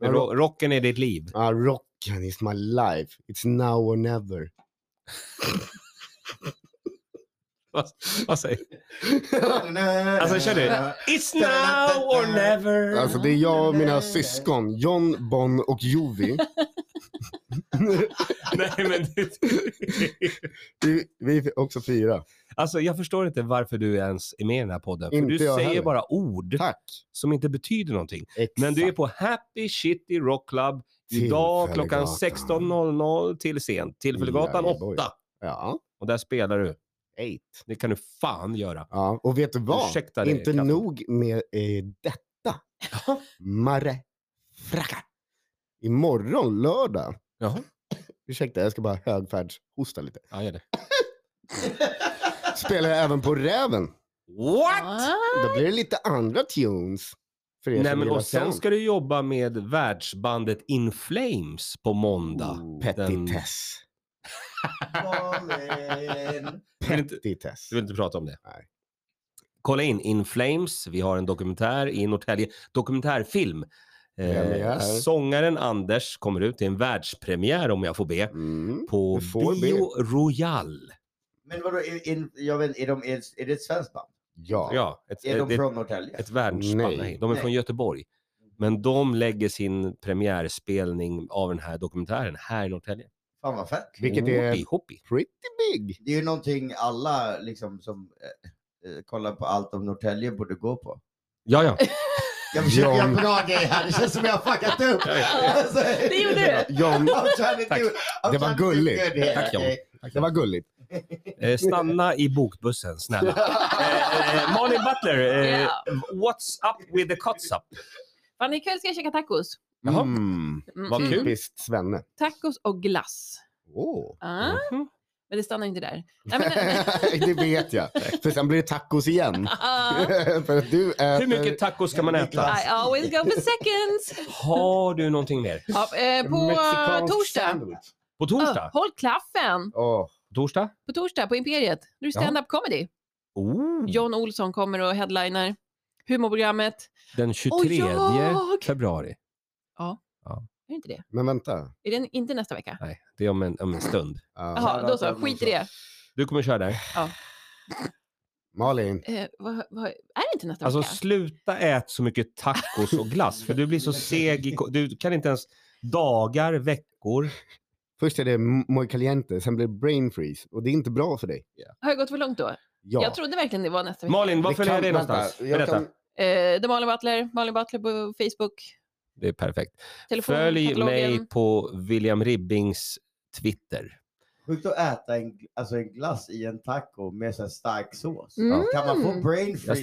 Speaker 1: Ja, rock.
Speaker 2: Ro- Rocken är ditt liv.
Speaker 1: Ah, rocken is my life. It's now or never.
Speaker 2: Vad, vad säger du?
Speaker 3: Alltså
Speaker 2: kör du. It's now or never.
Speaker 1: Alltså det är jag och mina syskon. John, Bon och Jovi.
Speaker 2: Nej, men du,
Speaker 1: Vi, vi är också fyra.
Speaker 2: alltså, jag förstår inte varför du ens är med i den här podden. För
Speaker 1: Inte
Speaker 2: du
Speaker 1: jag
Speaker 2: säger
Speaker 1: heller.
Speaker 2: bara ord
Speaker 1: Tack.
Speaker 2: som inte betyder någonting.
Speaker 1: Exakt.
Speaker 2: Men du är på Happy Shitty Rock Club idag klockan
Speaker 1: Tillfällegatan.
Speaker 2: 16.00 till sent. Tillfällegatan
Speaker 1: Jajaboj.
Speaker 2: 8.
Speaker 1: Ja.
Speaker 2: Och där spelar du.
Speaker 1: Eight.
Speaker 2: Det kan du fan göra.
Speaker 1: Ja. Och vet du vad?
Speaker 2: Ursäkta dig,
Speaker 1: Inte
Speaker 2: Kaffe.
Speaker 1: nog med eh, detta. Mare fracka. Imorgon lördag.
Speaker 2: Jaha,
Speaker 1: Ursäkta, jag ska bara högfärdshosta lite.
Speaker 2: ja, gör det.
Speaker 1: Spelar jag även på Räven.
Speaker 2: What?
Speaker 1: Då blir det lite andra tunes. För er
Speaker 2: Nej,
Speaker 1: som
Speaker 2: men
Speaker 1: gillar
Speaker 2: och sen
Speaker 1: sånt.
Speaker 2: ska du jobba med världsbandet In Flames på måndag.
Speaker 1: Oh,
Speaker 2: Den-
Speaker 1: Petitess.
Speaker 2: Du vill inte-
Speaker 1: Petitess.
Speaker 2: Du vill inte prata om det?
Speaker 1: Nej.
Speaker 2: Kolla in In Flames. Vi har en dokumentär i Norrtälje. Dokumentärfilm.
Speaker 1: Premiär.
Speaker 2: Eh, sångaren Anders kommer ut. Det är en världspremiär om jag får be.
Speaker 1: Mm.
Speaker 2: På
Speaker 1: Du får
Speaker 2: Bio Royal.
Speaker 3: Men vadå, är, är, jag vet, är, de, är, är det ett svenskt band?
Speaker 1: Ja.
Speaker 2: Ja, ett,
Speaker 3: Är
Speaker 2: ett,
Speaker 3: de
Speaker 2: ett,
Speaker 3: från Norrtälje?
Speaker 2: Eh, ett världsband.
Speaker 1: Nej.
Speaker 2: Nej, de är
Speaker 3: Nej.
Speaker 2: från Göteborg. Men de lägger sin premiärspelning av den här dokumentären här i Norrtälje.
Speaker 3: Fan vad fett.
Speaker 1: Vilket är
Speaker 2: Hoppi, hoppi.
Speaker 1: pretty big.
Speaker 3: Det är ju någonting alla liksom som eh, eh, kollar på allt om Norrtälje borde gå på.
Speaker 2: Ja, ja.
Speaker 3: Jag försöker
Speaker 1: Ja.
Speaker 3: göra bra grejer här, det känns som jag har fuckat upp. Alltså,
Speaker 4: Det gjorde du.
Speaker 1: John,
Speaker 3: I'm trying to
Speaker 2: Tack.
Speaker 3: do- I'm
Speaker 1: Det var
Speaker 3: trying to do
Speaker 1: gulligt.
Speaker 3: good here,
Speaker 2: Tack, John.
Speaker 3: okej?
Speaker 1: det var gulligt.
Speaker 2: Eh, stanna i bokbussen, snälla. Eh, eh, Malin Butler, eh,
Speaker 4: Ja.
Speaker 2: what's up with the cuts up?
Speaker 4: Fan, ikväll ska jag käka tacos.
Speaker 2: Jaha.
Speaker 1: Mm.
Speaker 4: Mm,
Speaker 2: Vad
Speaker 4: mm.
Speaker 2: kul.
Speaker 1: Typiskt Svenne.
Speaker 4: Tacos och glass.
Speaker 1: Åh.
Speaker 4: Ah,
Speaker 2: Mhm.
Speaker 4: Men det stannar inte där. Nej, men,
Speaker 1: det vet jag. För sen blir det tacos igen.
Speaker 4: Ah,
Speaker 1: För att du äter...
Speaker 2: Hur mycket tacos ska man äta?
Speaker 4: I always go for seconds.
Speaker 2: Har du någonting mer?
Speaker 4: Ja, eh, på eh,
Speaker 1: Mexikansk
Speaker 4: torsdag.
Speaker 1: sandwich.
Speaker 2: På
Speaker 4: Ah,
Speaker 2: torsdag?
Speaker 4: håll klaffen.
Speaker 1: Åh,
Speaker 2: På torsdag?
Speaker 4: På torsdag på Imperiet. Nu är det stand-up comedy.
Speaker 2: Oh,
Speaker 4: John Olsson kommer och headliner humorprogrammet.
Speaker 2: den 23
Speaker 4: jag!
Speaker 2: februari.
Speaker 4: Är det inte det?
Speaker 1: Men vänta.
Speaker 4: Är det inte nästa vecka?
Speaker 2: Nej, det är om en, om en stund.
Speaker 1: Ja. Alltså,
Speaker 4: Jaha, då så. Skit i det.
Speaker 2: Du kommer köra där.
Speaker 1: Malin.
Speaker 4: Eh, vad, vad, är det inte nästa
Speaker 2: Alltså
Speaker 4: vecka?
Speaker 2: sluta äta så mycket tacos och glass för du blir så seg i ko- Du kan inte ens dagar, veckor.
Speaker 1: Först är det muy caliente, sen blir det brain freeze. Och det är inte bra för dig.
Speaker 4: Har jag gått för långt då?
Speaker 1: Ja.
Speaker 4: Jag trodde verkligen det var nästa vecka.
Speaker 2: Malin, var
Speaker 1: Det
Speaker 2: följer
Speaker 1: kan-
Speaker 2: jag dig
Speaker 1: vänta,
Speaker 2: någonstans?
Speaker 1: jag
Speaker 2: Berätta.
Speaker 1: kan-
Speaker 4: Eh, The Malin Butler, Malin Butler på Facebook.
Speaker 2: Det är perfekt.
Speaker 4: Telefon,
Speaker 2: Följ
Speaker 4: katalogen.
Speaker 2: mig på William Ribbings Twitter.
Speaker 3: Sjukt att äta en, alltså en glass i en taco med så här stark sås.
Speaker 4: Mm.
Speaker 3: Kan man få brain freeze?
Speaker 2: stänger